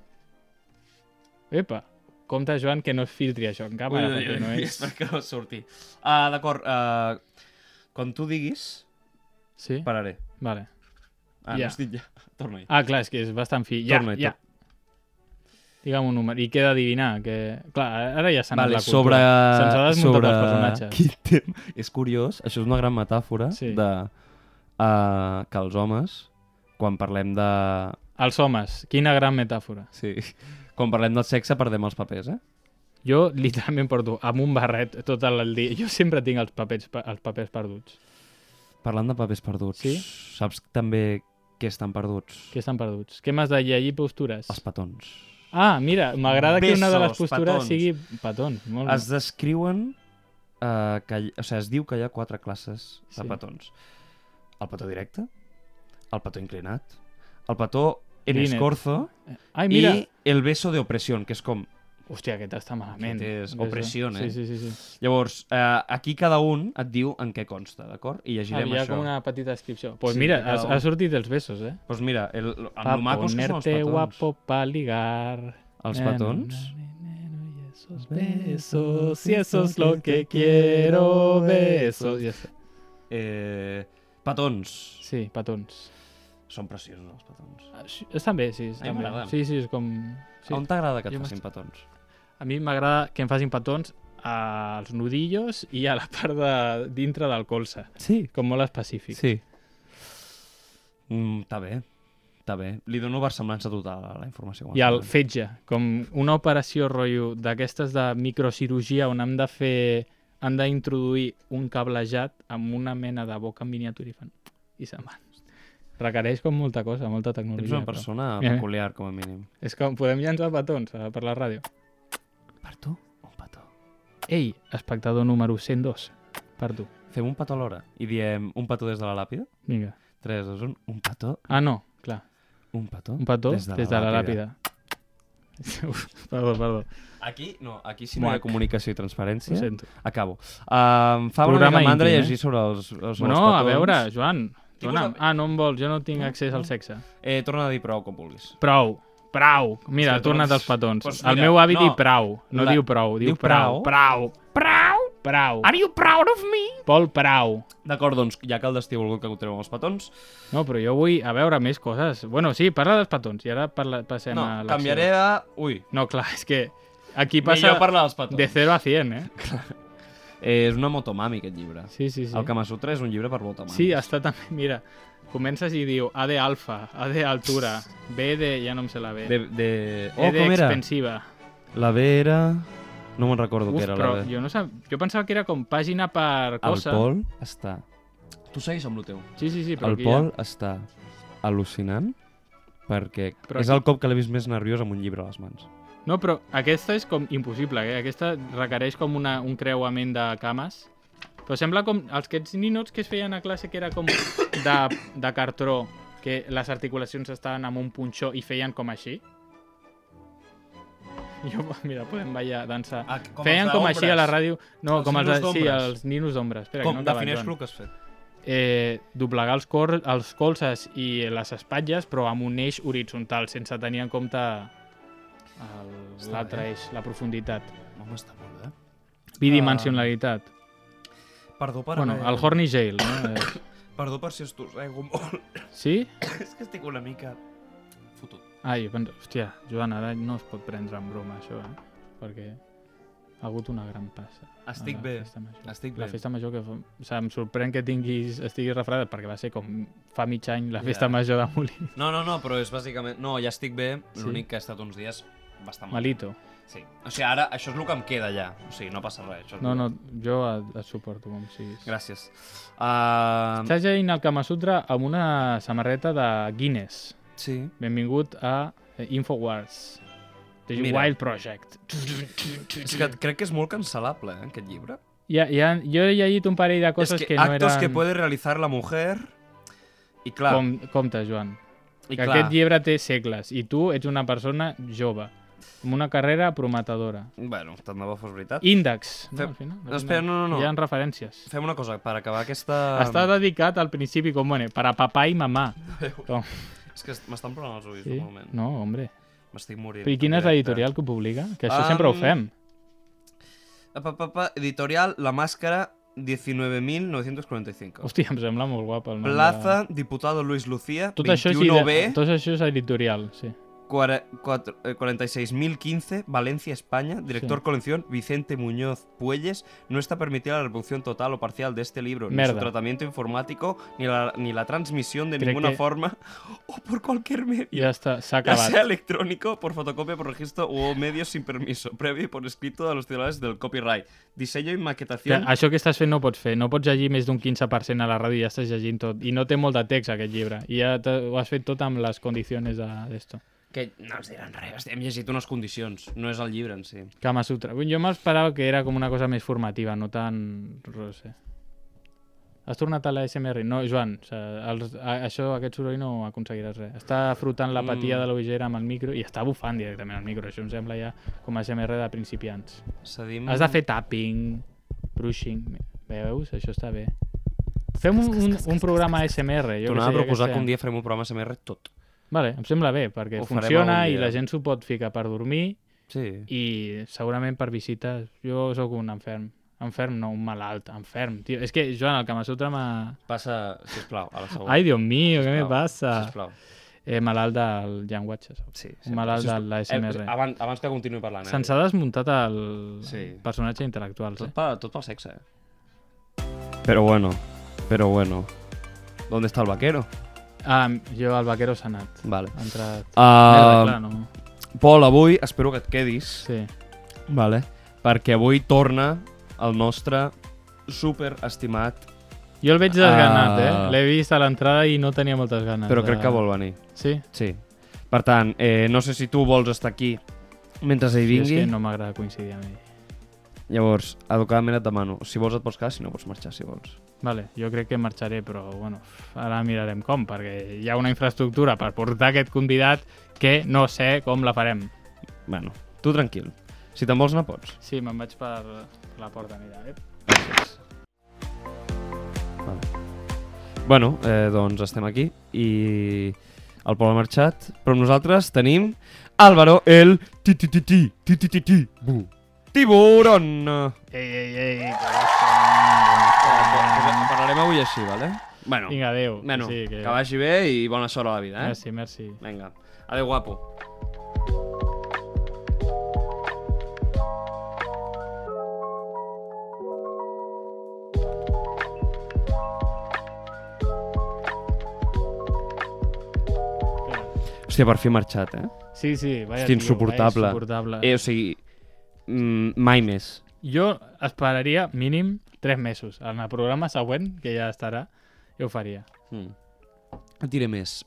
Speaker 2: Epa. Compte, Joan, que no es filtri això en càmera, Ah, perquè
Speaker 1: [LAUGHS]
Speaker 2: no és...
Speaker 1: Perquè no surti. Ah, D'acord, ah, quan tu diguis,
Speaker 2: Sí?
Speaker 1: pararé.
Speaker 2: Vale.
Speaker 1: Ah,
Speaker 2: Ja.
Speaker 1: no has dit ja. [LAUGHS] Torna-hi.
Speaker 2: Ah, clar, és que és bastant fi. Ja,
Speaker 1: Torna-hi tu.
Speaker 2: ja. Digue'm un número. I queda adivinar, que... Clar, ara ja s'ha anat
Speaker 1: Vale,
Speaker 2: la cultura.
Speaker 1: sobre...
Speaker 2: Se'ns ha desmuntat
Speaker 1: sobre...
Speaker 2: els personatges.
Speaker 1: [LAUGHS] Quin tema... És curiós, això és una gran metàfora
Speaker 2: Sí.
Speaker 1: de uh, que els homes, quan parlem de...
Speaker 2: Els homes, quina gran metàfora.
Speaker 1: Sí. Quan parlem del sexe perdem els papers, eh?
Speaker 2: Jo [LAUGHS] literalment porto amb un barret tot el dia. Jo sempre tinc els papers, pe- els papers perduts.
Speaker 1: Parlant de papers perduts,
Speaker 2: Sí.
Speaker 1: saps també què estan perduts?
Speaker 2: Què estan perduts? Què m'has de llegir postures?
Speaker 1: Els petons.
Speaker 2: Ah, mira, m'agrada que una de les
Speaker 1: Besos,
Speaker 2: postures
Speaker 1: petons.
Speaker 2: sigui petons. Molt
Speaker 1: Es
Speaker 2: es...
Speaker 1: descriuen... Uh, que, hi- o sigui, es diu que hi ha quatre classes de
Speaker 2: Sí.
Speaker 1: petons. El petó directe, el petó inclinat, el petó en
Speaker 2: Inclinat.
Speaker 1: escorzo
Speaker 2: Ai,
Speaker 1: i
Speaker 2: mira!
Speaker 1: el beso de opresión, que és com
Speaker 2: Hòstia, aquest està malament.
Speaker 1: Aquest és
Speaker 2: Ves-ho.
Speaker 1: opression, eh?
Speaker 2: Sí, sí, sí. sí.
Speaker 1: Llavors, eh, aquí cada un et diu en què consta, d'acord? I llegirem
Speaker 2: Havia
Speaker 1: això.
Speaker 2: com una petita descripció. Doncs pues
Speaker 1: Sí,
Speaker 2: mira,
Speaker 1: de cada
Speaker 2: ha,
Speaker 1: un.
Speaker 2: ha sortit els besos, eh?
Speaker 1: Doncs mira, el, el, amb
Speaker 2: Pa
Speaker 1: lo macos que són els
Speaker 2: ponerte
Speaker 1: petons.
Speaker 2: guapo pa ligar.
Speaker 1: Els
Speaker 2: Na, na,
Speaker 1: petons?
Speaker 2: na, na, na, na, y Esos besos, y eso es lo que quiero, besos. Ja està.
Speaker 1: Eh, petons.
Speaker 2: Sí, petons.
Speaker 1: Són preciosos, els petons.
Speaker 2: Ah, sí, Estan bé, sí.
Speaker 1: A mi
Speaker 2: Estan bé.
Speaker 1: m'agraden.
Speaker 2: Sí, sí, és com...
Speaker 1: Sí.
Speaker 2: Sí.
Speaker 1: On t'agrada que et
Speaker 2: Jo
Speaker 1: facin petons?
Speaker 2: A mi m'agrada que em facin petons als nudillos i a la part de dintre del colze,
Speaker 1: Sí.
Speaker 2: com molt específic.
Speaker 1: Sí. Mm, Està bé. Està bé. Li dono versemblança total a la informació.
Speaker 2: I el fetge, com una operació rotllo d'aquestes de microcirurgia on han de fer... han d'introduir un cablejat amb una mena de boca en miniatura i fan... i se'n van. Requereix com molta cosa, molta
Speaker 1: Ets
Speaker 2: tecnologia.
Speaker 1: una persona
Speaker 2: Mira, mira.
Speaker 1: peculiar, com a mínim.
Speaker 2: Però... És com, podem llançar petons eh, per la ràdio.
Speaker 1: Per tu, un petó.
Speaker 2: Ei, espectador número 102, per tu.
Speaker 1: Fem un petó alhora i diem un petó des de la làpida.
Speaker 2: Vinga.
Speaker 1: 3, 2, 1. Un petó,
Speaker 2: Ah, no, clar.
Speaker 1: un petó.
Speaker 2: Un petó des de, des de la làpida. [LAUGHS] Uf, perdó, perdó,
Speaker 1: Aquí, no, aquí si no hi ha
Speaker 2: Muac.
Speaker 1: comunicació i
Speaker 2: ho
Speaker 1: transparència,
Speaker 2: sento.
Speaker 1: Acabo. Um, fa una
Speaker 2: Programa
Speaker 1: mica mandra
Speaker 2: íntim, eh?
Speaker 1: llegir sobre els, els,
Speaker 2: Bueno,
Speaker 1: els
Speaker 2: a
Speaker 1: petons.
Speaker 2: veure, Joan,
Speaker 1: Tipus
Speaker 2: dona'm.
Speaker 1: de-
Speaker 2: Ah, no em vols, jo no tinc accés al sexe.
Speaker 1: Eh, torna a dir prou com vulguis.
Speaker 2: Prou. Prou.
Speaker 1: Hòstia,
Speaker 2: Mira, ha tornat
Speaker 1: doncs-
Speaker 2: als petons.
Speaker 1: doncs
Speaker 2: el
Speaker 1: mira,
Speaker 2: meu avi
Speaker 1: no.
Speaker 2: diu prou. No
Speaker 1: La-
Speaker 2: diu prou, diu,
Speaker 1: diu
Speaker 2: prou.
Speaker 1: prou.
Speaker 2: Prou. Prou. Prou.
Speaker 1: Are you proud of me?
Speaker 2: Pol prou.
Speaker 1: D'acord, doncs, ja que el destí ha volgut que ho treu els petons,
Speaker 2: No, però jo vull a veure més coses. Bueno, sí, parla dels petons i ara parla, passem
Speaker 1: no,
Speaker 2: a l'acció.
Speaker 1: canviaré a... Ui,
Speaker 2: No, clar, és que aquí
Speaker 1: passa...
Speaker 2: passa
Speaker 1: millor parlar dels petons.
Speaker 2: de 0 a 100, eh?
Speaker 1: Eh, és una motomami, aquest llibre.
Speaker 2: Sí, sí, sí.
Speaker 1: El Kama Sutra és un llibre per motomamis.
Speaker 2: Sí, està també, mira, comences i diu A de alfa, A de altura, B de... ja no em sé la B.
Speaker 1: De, de...
Speaker 2: E
Speaker 1: Oh,
Speaker 2: de
Speaker 1: com era?
Speaker 2: expensiva.
Speaker 1: La B era... No me'n recordo
Speaker 2: Uf,
Speaker 1: què era la
Speaker 2: però
Speaker 1: B.
Speaker 2: jo no sab... jo pensava que era com pàgina per
Speaker 1: El
Speaker 2: cosa.
Speaker 1: Pol està... Tu seguis amb el teu.
Speaker 2: Sí, sí, sí, però
Speaker 1: El
Speaker 2: aquí
Speaker 1: Pol està al·lucinant perquè
Speaker 2: Però
Speaker 1: és
Speaker 2: aquí-
Speaker 1: el cop que l'he vist més nerviós amb un llibre a les mans.
Speaker 2: Ja... No, però aquesta és com impossible, eh? Aquesta requereix com una, un creuament de cames. Però sembla com els aquests ninots que es feien a classe que era com de, de cartró, que les articulacions estaven amb un punxó i feien com així. Jo, [LAUGHS] mira, podem ballar, dansa.
Speaker 1: Ah, com
Speaker 2: feien
Speaker 1: els
Speaker 2: com
Speaker 1: d'ombres.
Speaker 2: així a la ràdio. No,
Speaker 1: Els
Speaker 2: com els,
Speaker 1: ninos
Speaker 2: de, sí,
Speaker 1: d'ombres.
Speaker 2: els ninos d'ombres. Espera,
Speaker 1: Com,
Speaker 2: que no
Speaker 1: no
Speaker 2: acaba,
Speaker 1: defineix
Speaker 2: Joan.
Speaker 1: el que has fet.
Speaker 2: eh, doblegar els, cor, els colzes i les espatlles, però amb un eix horitzontal, sense tenir en compte el-
Speaker 1: Està
Speaker 2: l'altre
Speaker 1: bé.
Speaker 2: eix, la profunditat.
Speaker 1: Eh, Home, està molt bé.
Speaker 2: Bidimensionalitat.
Speaker 1: Perdó per...
Speaker 2: bueno, el Horny Jail, no? Eh,
Speaker 1: Perdó per si us tossego molt. [LAUGHS]
Speaker 2: Sí?
Speaker 1: És que estic una mica... Fotut.
Speaker 2: Ai, penso, hòstia, Joan, ara no es pot prendre en broma, això, eh? Perquè ha hagut una gran passa. a
Speaker 1: Estic
Speaker 2: la
Speaker 1: bé,
Speaker 2: Festa major.
Speaker 1: estic
Speaker 2: La
Speaker 1: bé.
Speaker 2: festa major que... fa- O sigui, em sorprèn que tinguis, estiguis refredat, perquè va ser com fa mig any la
Speaker 1: Ja.
Speaker 2: festa major de Molí.
Speaker 1: No, no, no, però és bàsicament... No, ja estic bé,
Speaker 2: Sí.
Speaker 1: l'únic que he estat uns dies bastant mal.
Speaker 2: Malito.
Speaker 1: Sí. O sigui, ara això és el que em queda ja. O sigui, no passa res. Això és
Speaker 2: No,
Speaker 1: el
Speaker 2: no,
Speaker 1: que-
Speaker 2: jo et, et suporto com siguis.
Speaker 1: Gràcies. Uh...
Speaker 2: Estàs llegint el Kama Sutra amb una samarreta de Guinness.
Speaker 1: Uh, Sí.
Speaker 2: Benvingut a eh, Infowars. The
Speaker 1: Mira.
Speaker 2: Wild Project.
Speaker 1: És que crec que és molt cancel·lable, eh, aquest llibre.
Speaker 2: Ja, ja, jo he llegit un parell de coses
Speaker 1: és que,
Speaker 2: que, no
Speaker 1: actos
Speaker 2: eren...
Speaker 1: que puede realizar la mujer... I clar,
Speaker 2: Com, compte, Joan.
Speaker 1: i
Speaker 2: que
Speaker 1: clar.
Speaker 2: aquest llibre té segles i tu ets una persona jove, amb una carrera prometedora.
Speaker 1: Bueno, tant de bo fos veritat.
Speaker 2: Índex.
Speaker 1: Fem-
Speaker 2: No, al final, al
Speaker 1: Espera,
Speaker 2: final.
Speaker 1: no, no, no.
Speaker 2: Hi ha referències.
Speaker 1: Fem una cosa, per acabar aquesta...
Speaker 2: Està dedicat al principi com, bueno, per a papà i mamà.
Speaker 1: És que m'estan plorant els ulls,
Speaker 2: Sí?
Speaker 1: normalment.
Speaker 2: No, hombre.
Speaker 1: M'estic morint. eh.
Speaker 2: I quina
Speaker 1: en
Speaker 2: és
Speaker 1: directe.
Speaker 2: l'editorial que ho publica? Que això sempre ho
Speaker 1: Am,
Speaker 2: fem.
Speaker 1: Pa, pa, pa, editorial La Máscara 19.945.
Speaker 2: Hòstia, em sembla molt guapa el nom. de-
Speaker 1: Plaza Diputado Luis Lucía,
Speaker 2: Tot això, és
Speaker 1: 21B,
Speaker 2: ide- tot això és editorial, sí.
Speaker 1: cuara- cuatro- eh, 46.015, Valencia, España. Director
Speaker 2: Sí.
Speaker 1: colección Vicente Muñoz Puelles. No está permitida la reproducción total o parcial de este libro, ni
Speaker 2: Merda.
Speaker 1: su tratamiento informático, ni la, ni la transmisión de
Speaker 2: Crec
Speaker 1: ninguna
Speaker 2: que-
Speaker 1: forma [LAUGHS] o por cualquier medio.
Speaker 2: Ja està, s'ha
Speaker 1: Ya sea
Speaker 2: acabat.
Speaker 1: electrónico, por fotocopia, por registro o medios sin permiso, [LAUGHS] previo y por escrito a los titulares del copyright. Diseño y
Speaker 2: Que
Speaker 1: maquetación.
Speaker 2: Això que estàs fent no ho pots fer. No pots llegir més d'un 15% a la ràdio i ja estàs llegint tot. I no té molt de text, aquest llibre. I ja te- ho has fet tot amb les condicions de- d'esto.
Speaker 1: Que no ens diran res, hòstia, hem llegit unes condicions, no és el llibre en si.
Speaker 2: Kama Sutra. Vull dir, Jo m'esperava que era com una cosa més formativa, no tan... No sé. Has tornat a la SMR? No, Joan, o sigui, els, a, això, aquest soroll no aconseguiràs res. Està frotant la patia
Speaker 1: Mm.
Speaker 2: de la ullera amb el micro i està bufant directament el micro. Això em sembla ja com a SMR de principiants.
Speaker 1: Cedim...
Speaker 2: Has de fer tapping, brushing... Veus? Això està bé. Fem un, un, un programa SMR. Jo
Speaker 1: Tornava a
Speaker 2: que sé, ja
Speaker 1: proposar que
Speaker 2: estem.
Speaker 1: un dia farem un programa SMR tot.
Speaker 2: Vale, em sembla bé, perquè
Speaker 1: Ho farem
Speaker 2: funciona
Speaker 1: algun
Speaker 2: i
Speaker 1: dia.
Speaker 2: la gent s'ho pot ficar per dormir
Speaker 1: Sí.
Speaker 2: i segurament per visites jo sóc un enferm enferm no, un malalt, enferm tio. és que Joan, el Kama Sutra m'ha...
Speaker 1: Passa, sisplau, a la següent.
Speaker 2: ai Dios mío, què me
Speaker 1: Oh. Sisplau,
Speaker 2: passa
Speaker 1: Sisplau.
Speaker 2: eh, malalt del llenguatge saps?
Speaker 1: Sí,
Speaker 2: un malalt de la
Speaker 1: Eh,
Speaker 2: SMR
Speaker 1: abans, abans que continuï parlant. eh,
Speaker 2: se'ns ha desmuntat el
Speaker 1: Sí.
Speaker 2: personatge intel·lectual
Speaker 1: Tot,
Speaker 2: eh?
Speaker 1: pa, tot pel sexe, eh? Però bueno, però bueno. ¿Dónde está el vaquero?
Speaker 2: ah, jo el vaquero s'ha anat
Speaker 1: Vale.
Speaker 2: ha entrat Merda,
Speaker 1: Uh,
Speaker 2: clar, no.
Speaker 1: Pol, avui espero que et quedis,
Speaker 2: sí.
Speaker 1: vale. perquè avui torna el nostre superestimat,
Speaker 2: jo el veig desganat eh?
Speaker 1: Ah.
Speaker 2: l'he vist a l'entrada i no tenia moltes ganes
Speaker 1: però
Speaker 2: de-
Speaker 1: crec que vol venir.
Speaker 2: sí?
Speaker 1: Sí. Per tant, eh, no sé si tu vols estar aquí mentre ell
Speaker 2: Sí, és
Speaker 1: vingui.
Speaker 2: que no m'agrada coincidir amb ell
Speaker 1: Llavors, educadament et demano, si vols et pots quedar, si no pots marxar, si vols.
Speaker 2: Vale, jo crec que marxaré, però bueno, ara mirarem com, perquè hi ha una infraestructura per portar aquest convidat que no sé com la farem.
Speaker 1: Bueno, tu tranquil. Si te'n vols anar, pots.
Speaker 2: Sí, me'n vaig per la porta, mira. eh? Ep.
Speaker 1: Bueno, eh, doncs estem aquí i el Pol ha marxat, però nosaltres tenim Álvaro el ti ti ti ti ti ti ti ti bu tiburón. Doncs,
Speaker 2: Ei, ei, ei, que basta.
Speaker 1: Parlarem avui així, vale? Bueno,
Speaker 2: Vinga, adéu.
Speaker 1: bueno
Speaker 2: sí,
Speaker 1: que... que vagi bé i bona sort a la vida, eh?
Speaker 2: Merci, merci.
Speaker 1: Vinga, adéu guapo. Hòstia, per fi ha marxat, eh?
Speaker 2: Sí, sí, vaja
Speaker 1: Hòstia,
Speaker 2: tio,
Speaker 1: insuportable.
Speaker 2: Vaja insuportable.
Speaker 1: eh o sigui, mm, mai més.
Speaker 2: Jo esperaria mínim 3 mesos. En el programa següent, que ja estarà, jo ho faria.
Speaker 1: Mm. Et diré més.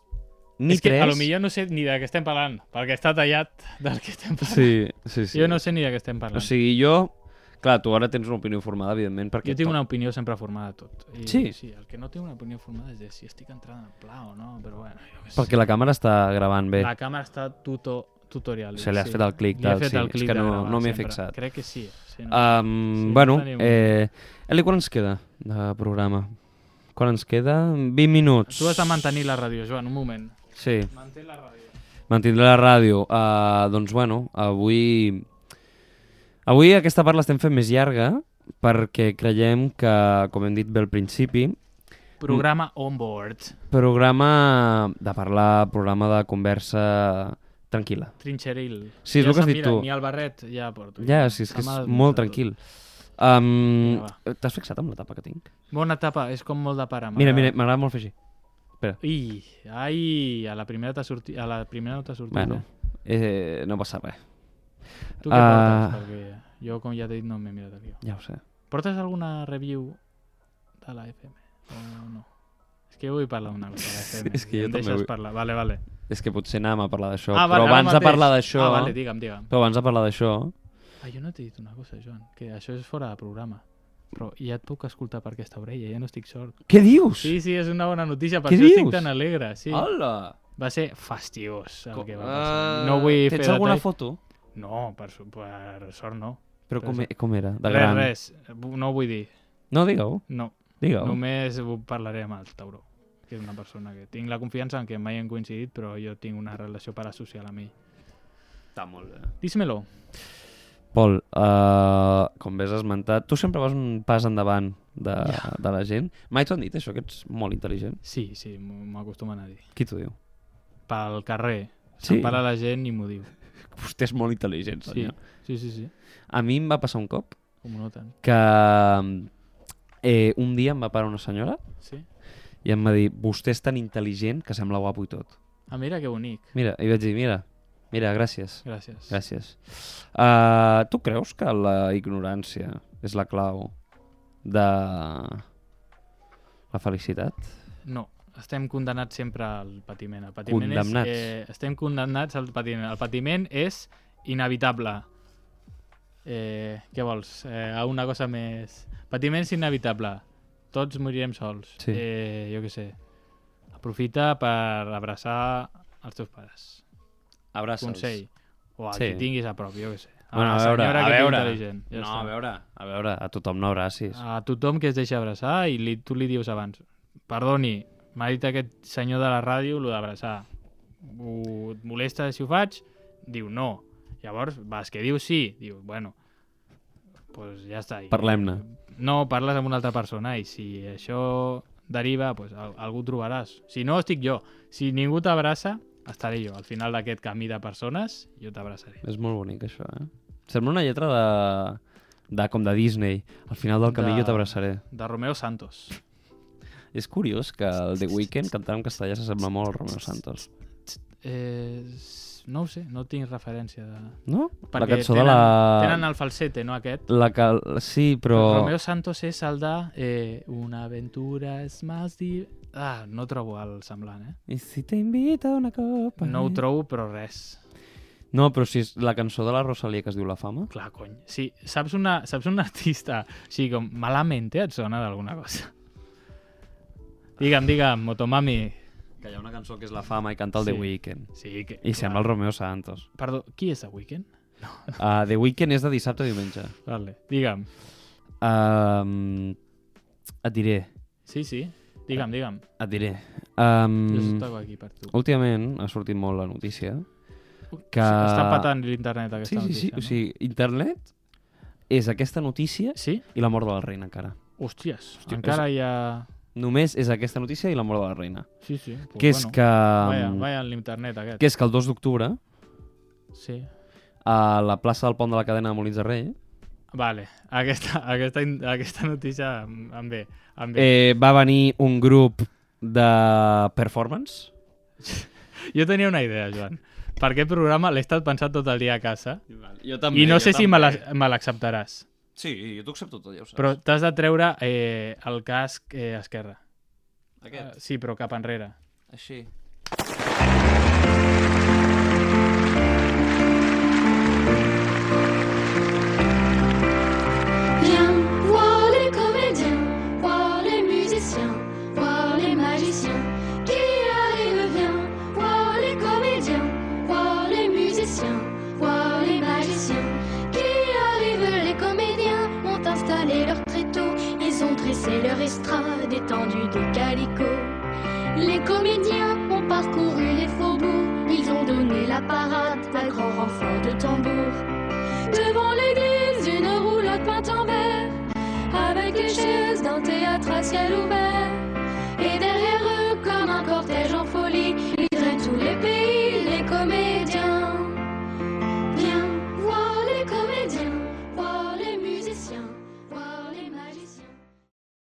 Speaker 1: Ni
Speaker 2: És que
Speaker 1: tres...
Speaker 2: a lo millor no sé ni de què estem parlant, perquè està tallat del que estem parlant.
Speaker 1: Sí, sí, sí.
Speaker 2: Jo no sé ni de què estem parlant.
Speaker 1: O sigui, jo... Clar, tu ara tens una opinió formada, evidentment, perquè...
Speaker 2: Jo tinc
Speaker 1: to-
Speaker 2: una opinió sempre formada de tot. I,
Speaker 1: Sí.
Speaker 2: sí. El que no tinc una opinió formada és de si estic entrant al pla o no, però bueno, jo què sé.
Speaker 1: Perquè la càmera està gravant bé.
Speaker 2: La càmera està tuto, tutorial.
Speaker 1: Se li has fet el clic
Speaker 2: Li
Speaker 1: del
Speaker 2: he fet
Speaker 1: sí,
Speaker 2: el
Speaker 1: és
Speaker 2: clic
Speaker 1: que
Speaker 2: de
Speaker 1: no-
Speaker 2: gravar
Speaker 1: no m'hi he
Speaker 2: sempre.
Speaker 1: fixat.
Speaker 2: Crec que sí. sí no.
Speaker 1: Um,
Speaker 2: Sí,
Speaker 1: bueno,
Speaker 2: tenim-
Speaker 1: eh, Eli, quan ens queda de programa? Quan ens queda? 20 minuts.
Speaker 2: Tu has de mantenir la ràdio, Joan, un moment.
Speaker 1: Sí,
Speaker 2: Mantén la ràdio.
Speaker 1: mantindré la ràdio. Uh, doncs bueno, avui... Avui aquesta part l'estem fent més llarga perquè creiem que, com hem dit bé al principi,
Speaker 2: Programa on board.
Speaker 1: programa de parlar, programa de conversa tranquil·la.
Speaker 2: Trinxeril.
Speaker 1: Sí, és
Speaker 2: ja
Speaker 1: el que has
Speaker 2: se'n
Speaker 1: dit
Speaker 2: mira,
Speaker 1: tu.
Speaker 2: Ni el barret ja porto.
Speaker 1: Ja, sí, és que
Speaker 2: Se m'ha
Speaker 1: és molt
Speaker 2: desmuntat
Speaker 1: tranquil. Um,
Speaker 2: Vinga,
Speaker 1: T'has fixat amb la tapa que tinc?
Speaker 2: tot. Bona tapa, és com molt de pare.
Speaker 1: Mira, mira,
Speaker 2: m'agrada.
Speaker 1: m'agrada molt fer així.
Speaker 2: Ui, ai, a la primera t'ha sortit, a la primera no t'ha sortit.
Speaker 1: Bueno,
Speaker 2: eh?
Speaker 1: eh, no passa res,
Speaker 2: Tu què
Speaker 1: Ah.
Speaker 2: portes? Perquè jo, com ja t'he dit, no m'he mirat el guió.
Speaker 1: ja ho sé.
Speaker 2: Portes alguna review de la FM? O no? És que jo vull parlar d'una cosa de la FM.
Speaker 1: és que
Speaker 2: i
Speaker 1: jo
Speaker 2: em
Speaker 1: també
Speaker 2: deixes
Speaker 1: vull.
Speaker 2: parlar. Vale, vale.
Speaker 1: És que potser anàvem a parlar d'això,
Speaker 2: Ah, vale,
Speaker 1: però
Speaker 2: ara
Speaker 1: abans de
Speaker 2: mateix.
Speaker 1: parlar d'això...
Speaker 2: Ah, vale, digue'm, digue'm.
Speaker 1: Però abans de parlar d'això...
Speaker 2: Ah, jo no t'he dit una cosa, Joan, que això és fora de programa. Però ja et puc escoltar per aquesta orella, ja no estic sort.
Speaker 1: Què dius?
Speaker 2: Sí, sí, és una bona notícia, per
Speaker 1: Què
Speaker 2: això estic
Speaker 1: dius?
Speaker 2: tan alegre. Sí.
Speaker 1: Hola!
Speaker 2: Va ser fastiós el
Speaker 1: Com-
Speaker 2: que va passar.
Speaker 1: Ah,
Speaker 2: no vull
Speaker 1: Tens
Speaker 2: fer
Speaker 1: alguna
Speaker 2: detall.
Speaker 1: foto?
Speaker 2: No, per, su- per sort no.
Speaker 1: Però com, e-
Speaker 2: Res.
Speaker 1: com era? De
Speaker 2: res,
Speaker 1: gran?
Speaker 2: res, no ho vull dir.
Speaker 1: No, digue-ho,
Speaker 2: No,
Speaker 1: digue-ho.
Speaker 2: Només ho parlaré amb el Tauró, que és una persona que tinc la confiança en que mai hem coincidit, però jo tinc una relació parasocial amb ell.
Speaker 1: Està molt bé.
Speaker 2: Dísmelo.
Speaker 1: Pol, uh, com bé has esmentat, tu sempre vas un pas endavant de, yeah.
Speaker 2: Ja.
Speaker 1: de la gent. Mai t'ho han dit, això, que ets molt intel·ligent.
Speaker 2: Sí, sí, m'ho m'ho acostumen a dir.
Speaker 1: Qui t'ho diu?
Speaker 2: Pel carrer.
Speaker 1: Sí.
Speaker 2: Se'n para la gent i m'ho diu.
Speaker 1: Vostè és molt intel·ligent,
Speaker 2: Sí,
Speaker 1: senyor.
Speaker 2: sí, sí, sí.
Speaker 1: Sí. A mi em va passar un cop
Speaker 2: Com ho noten.
Speaker 1: que eh, un dia em va parar una senyora
Speaker 2: Sí.
Speaker 1: i em va dir, vostè és tan intel·ligent que sembla guapo i tot.
Speaker 2: Ah, mira que bonic.
Speaker 1: Mira, i vaig dir, mira, mira, gràcies.
Speaker 2: Gràcies.
Speaker 1: Gràcies. Uh, tu creus que la ignorància és la clau de la felicitat?
Speaker 2: No, estem condemnats sempre al patiment. El patiment
Speaker 1: Condemnats.
Speaker 2: És, eh, estem condemnats al patiment. El patiment és inevitable. Eh, què vols? Eh, a una cosa més... Patiment és inevitable. Tots morirem sols.
Speaker 1: Sí.
Speaker 2: Eh, jo què sé. Aprofita per abraçar els teus pares.
Speaker 1: Abraça'ls.
Speaker 2: Consell. O al
Speaker 1: Sí.
Speaker 2: sí. que tinguis a prop, jo què sé.
Speaker 1: Bueno, a
Speaker 2: la
Speaker 1: veure,
Speaker 2: senyora
Speaker 1: a
Speaker 2: que té
Speaker 1: veure.
Speaker 2: intel·ligent. Ja
Speaker 1: no,
Speaker 2: està.
Speaker 1: a veure, a veure, a tothom no abracis. Ah.
Speaker 2: a tothom que es deixa abraçar i li, tu li dius abans perdoni, m'ha dit aquest senyor de la ràdio lo d'abraçar Ho- et molesta si ho faig? diu no, llavors vas que diu sí diu bueno pues ja està I,
Speaker 1: Parlem-ne.
Speaker 2: no parles amb una altra persona i si això deriva pues, al, algú trobaràs si no estic jo, si ningú t'abraça estaré jo, al final d'aquest camí de persones jo t'abraçaré
Speaker 1: És molt bonic, això, eh? Sembla una lletra de... de com de Disney. Al final del camí
Speaker 2: De-
Speaker 1: jo t'abraçaré.
Speaker 2: de Romeo Santos
Speaker 1: És curiós que el The Weeknd cantar en castellà s'assembla molt al Romeo Santos.
Speaker 2: eh, s- no ho sé, no tinc referència de...
Speaker 1: No? la
Speaker 2: Perquè
Speaker 1: cançó
Speaker 2: tenen,
Speaker 1: de la...
Speaker 2: Tenen el falsete, no aquest?
Speaker 1: La cal... Sí, però...
Speaker 2: Però... Romeo Santos és el de... Eh, una aventura és más di... Ah, no trobo el semblant, eh?
Speaker 1: I si t'invita una copa...
Speaker 2: No ho trobo, però res.
Speaker 1: No, però si és la cançó de la Rosalia que es diu La Fama...
Speaker 2: Clar, cony. Sí, saps, una, saps un artista així com malament eh, et sona d'alguna cosa? Digue'm, digue'm, Motomami.
Speaker 1: Que hi ha una cançó que és La Fama i canta el sí.
Speaker 2: Sí.
Speaker 1: The Weeknd.
Speaker 2: Sí, que,
Speaker 1: I sembla el Romeo Santos.
Speaker 2: Perdó, qui és The Weeknd?
Speaker 1: Uh, The Weeknd és de dissabte a diumenge.
Speaker 2: Vale. Digue'm.
Speaker 1: Um, et diré,
Speaker 2: Sí, sí. Digue'm, digue'm.
Speaker 1: et diré.
Speaker 2: Mm. Jo
Speaker 1: Um,
Speaker 2: estava aquí per tu.
Speaker 1: últimament ha sortit molt la notícia que...
Speaker 2: Està patant l'internet
Speaker 1: Sí, sí,
Speaker 2: aquesta
Speaker 1: sí.
Speaker 2: notícia,
Speaker 1: O sigui, internet és aquesta notícia
Speaker 2: no? Sí?
Speaker 1: i la mort de la reina encara.
Speaker 2: Hòsties,
Speaker 1: Hòstia,
Speaker 2: encara hi ha...
Speaker 1: Només és aquesta notícia i la mort de la reina.
Speaker 2: Sí, sí. Pues
Speaker 1: que és que... um, mm,
Speaker 2: Vaja, vaja en l'internet aquest.
Speaker 1: Que és que el 2 d'octubre,
Speaker 2: Sí.
Speaker 1: a la plaça del Pont de la Cadena de Molins de Rei,
Speaker 2: Vale, aquesta, [LAUGHS] aquesta, in- aquesta notícia em em ve. Em ve.
Speaker 1: eh, va venir un grup de performance.
Speaker 2: Jo tenia una idea, Joan. Per aquest programa l'he estat pensant tot el dia a casa
Speaker 1: Jo
Speaker 2: i no sé si me la- me l'acceptaràs,
Speaker 1: Sí, jo t'ho accepto tot, ja ho saps.
Speaker 2: però t'has de treure eh, el casc eh, esquerre. Eh,
Speaker 1: Aquest,
Speaker 2: Sí, però cap enrere.
Speaker 1: així.
Speaker 6: Viens voir les comédiens, voir les musiciens, voir les magiciens qui arrivent. Viens voir les comédiens, voir les musiciens, voir les magiciens qui arrivent. Les comédiens ont installé leur tréteau, ils ont dressé leur estrade étendue de calicot. Les comédiens ont parcouru les faubourgs, ils ont donné la parade à grand renfort de tambour. Devant l'église, une roulotte peinte en vert, avec les chaises d'un théâtre à ciel ouvert.